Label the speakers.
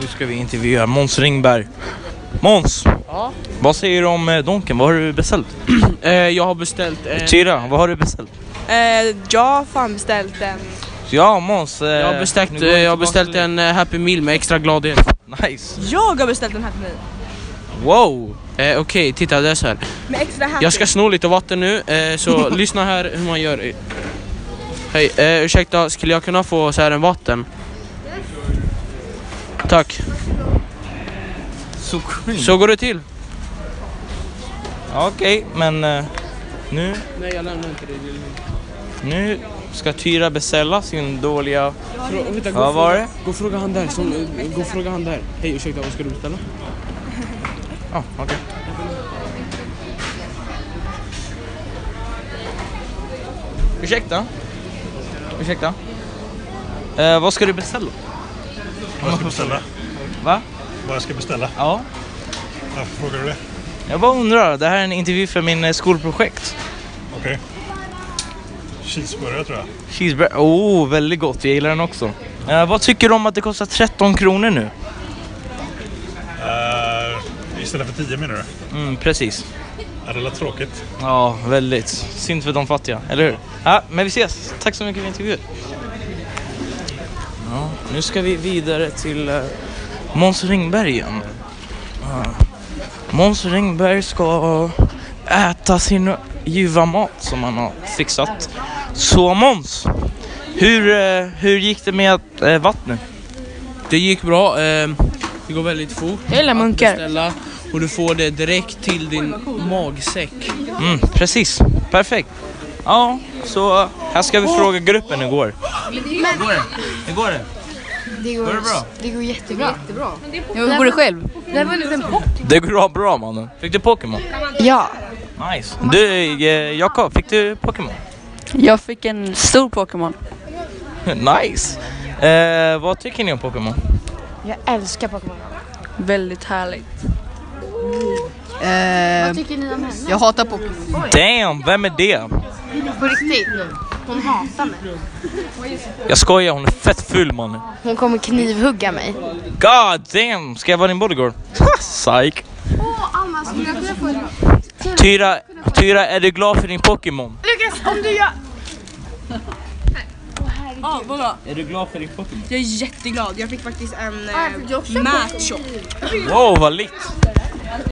Speaker 1: Nu ska vi intervjua Måns Ringberg. Måns,
Speaker 2: Ja.
Speaker 1: vad säger du om eh, Donken? Vad har du beställt?
Speaker 2: Eh, jag har beställt en...
Speaker 1: Tyra, vad har du beställt?
Speaker 3: Eh, jag har fan beställt en.
Speaker 1: Ja Måns, eh,
Speaker 2: Jag har beställt,
Speaker 1: nu
Speaker 2: eh,
Speaker 1: går vi
Speaker 2: jag har
Speaker 1: tillbaka
Speaker 2: beställt
Speaker 1: till dig.
Speaker 2: en eh, Happy Meal med extra gladhet.
Speaker 1: Nice!
Speaker 3: Jag har beställt en Happy Meal.
Speaker 1: Wow!
Speaker 2: Eh, Okej, titta det är så här.
Speaker 3: Med extra happy.
Speaker 2: Jag ska sno lite vatten nu, eh, så lyssna här hur man gör. Hej, eh, ursäkta, skulle jag kunna få så här en vatten? Tack.
Speaker 1: Så cringe!
Speaker 2: Så går det till.
Speaker 1: Okej, men eh, nu,
Speaker 2: Nej, jag lämnar inte dig.
Speaker 1: nu ska Tyra beställa sin dåliga...
Speaker 2: Vänta,
Speaker 1: Vad var det?
Speaker 2: Gå och fråga han där. Som, gå och fråga han där. Hej, ursäkta, vad ska du beställa?
Speaker 1: Ja, okej. Ursäkta? Ursäkta? Eh, vad ska du beställa?
Speaker 4: Vad jag ska beställa?
Speaker 1: Va?
Speaker 4: Vad jag ska beställa?
Speaker 1: Ja.
Speaker 4: Varför frågar du det?
Speaker 1: Jag bara undrar, det här är en intervju för min eh, skolprojekt.
Speaker 4: Okej. Cheeseburgare tror jag.
Speaker 1: Cheeseburger, oh väldigt gott, jag gillar den också. Eh, vad tycker du om att det kostar 13 kronor nu?
Speaker 4: Eh, istället för 10 menar du?
Speaker 1: Mm, precis.
Speaker 4: Ja, det lät tråkigt.
Speaker 1: Ja, väldigt. Synd för de fattiga, eller hur? Ja, men vi ses. Tack så mycket för intervjun. Ja, nu ska vi vidare till uh, Måns Ringberg igen. Ja. Måns Ringberg ska äta sin ljuva mat som han har fixat. Så Måns, hur, eh, hur gick det med eh, vattnet?
Speaker 2: Det gick bra. Eh, det går väldigt fort.
Speaker 3: Jag gillar
Speaker 2: att
Speaker 3: munkar.
Speaker 2: beställa, Och du får det direkt till din magsäck.
Speaker 1: Mm, precis, perfekt. Ja, så eh, här ska vi fråga gruppen hur går. Hur går det? Hur går det?
Speaker 5: Det går,
Speaker 1: det bra?
Speaker 5: det går jättebra.
Speaker 6: Hur går det själv?
Speaker 5: Det här var en liten pop.
Speaker 1: Det går bra, bra mannen. Fick du Pokémon?
Speaker 5: Ja.
Speaker 1: Nice. Du eh, Jakob, fick du Pokémon?
Speaker 6: Jag fick en stor Pokémon.
Speaker 1: nice. Eh, vad tycker ni om Pokémon?
Speaker 5: Jag älskar Pokémon.
Speaker 6: Väldigt härligt.
Speaker 5: Vad tycker ni om henne?
Speaker 6: Jag hatar Pokémon.
Speaker 1: Damn, vem är det?
Speaker 5: På riktigt. Hon hatar mig.
Speaker 1: Jag skojar, hon är fett ful mannen.
Speaker 5: Hon kommer knivhugga mig.
Speaker 1: God damn, ska jag vara din bodyguard? Psych.
Speaker 5: Åh, Alma, skulle jag kunna få en...
Speaker 1: Tyra, Tyra, är du glad för din Pokémon?
Speaker 3: Ja, vadå?
Speaker 1: Är du glad för din Pokémon?
Speaker 3: Jag är
Speaker 6: Ah,
Speaker 3: jätteglad. Jag fick faktiskt en eh, match.
Speaker 1: Wow, vad likt.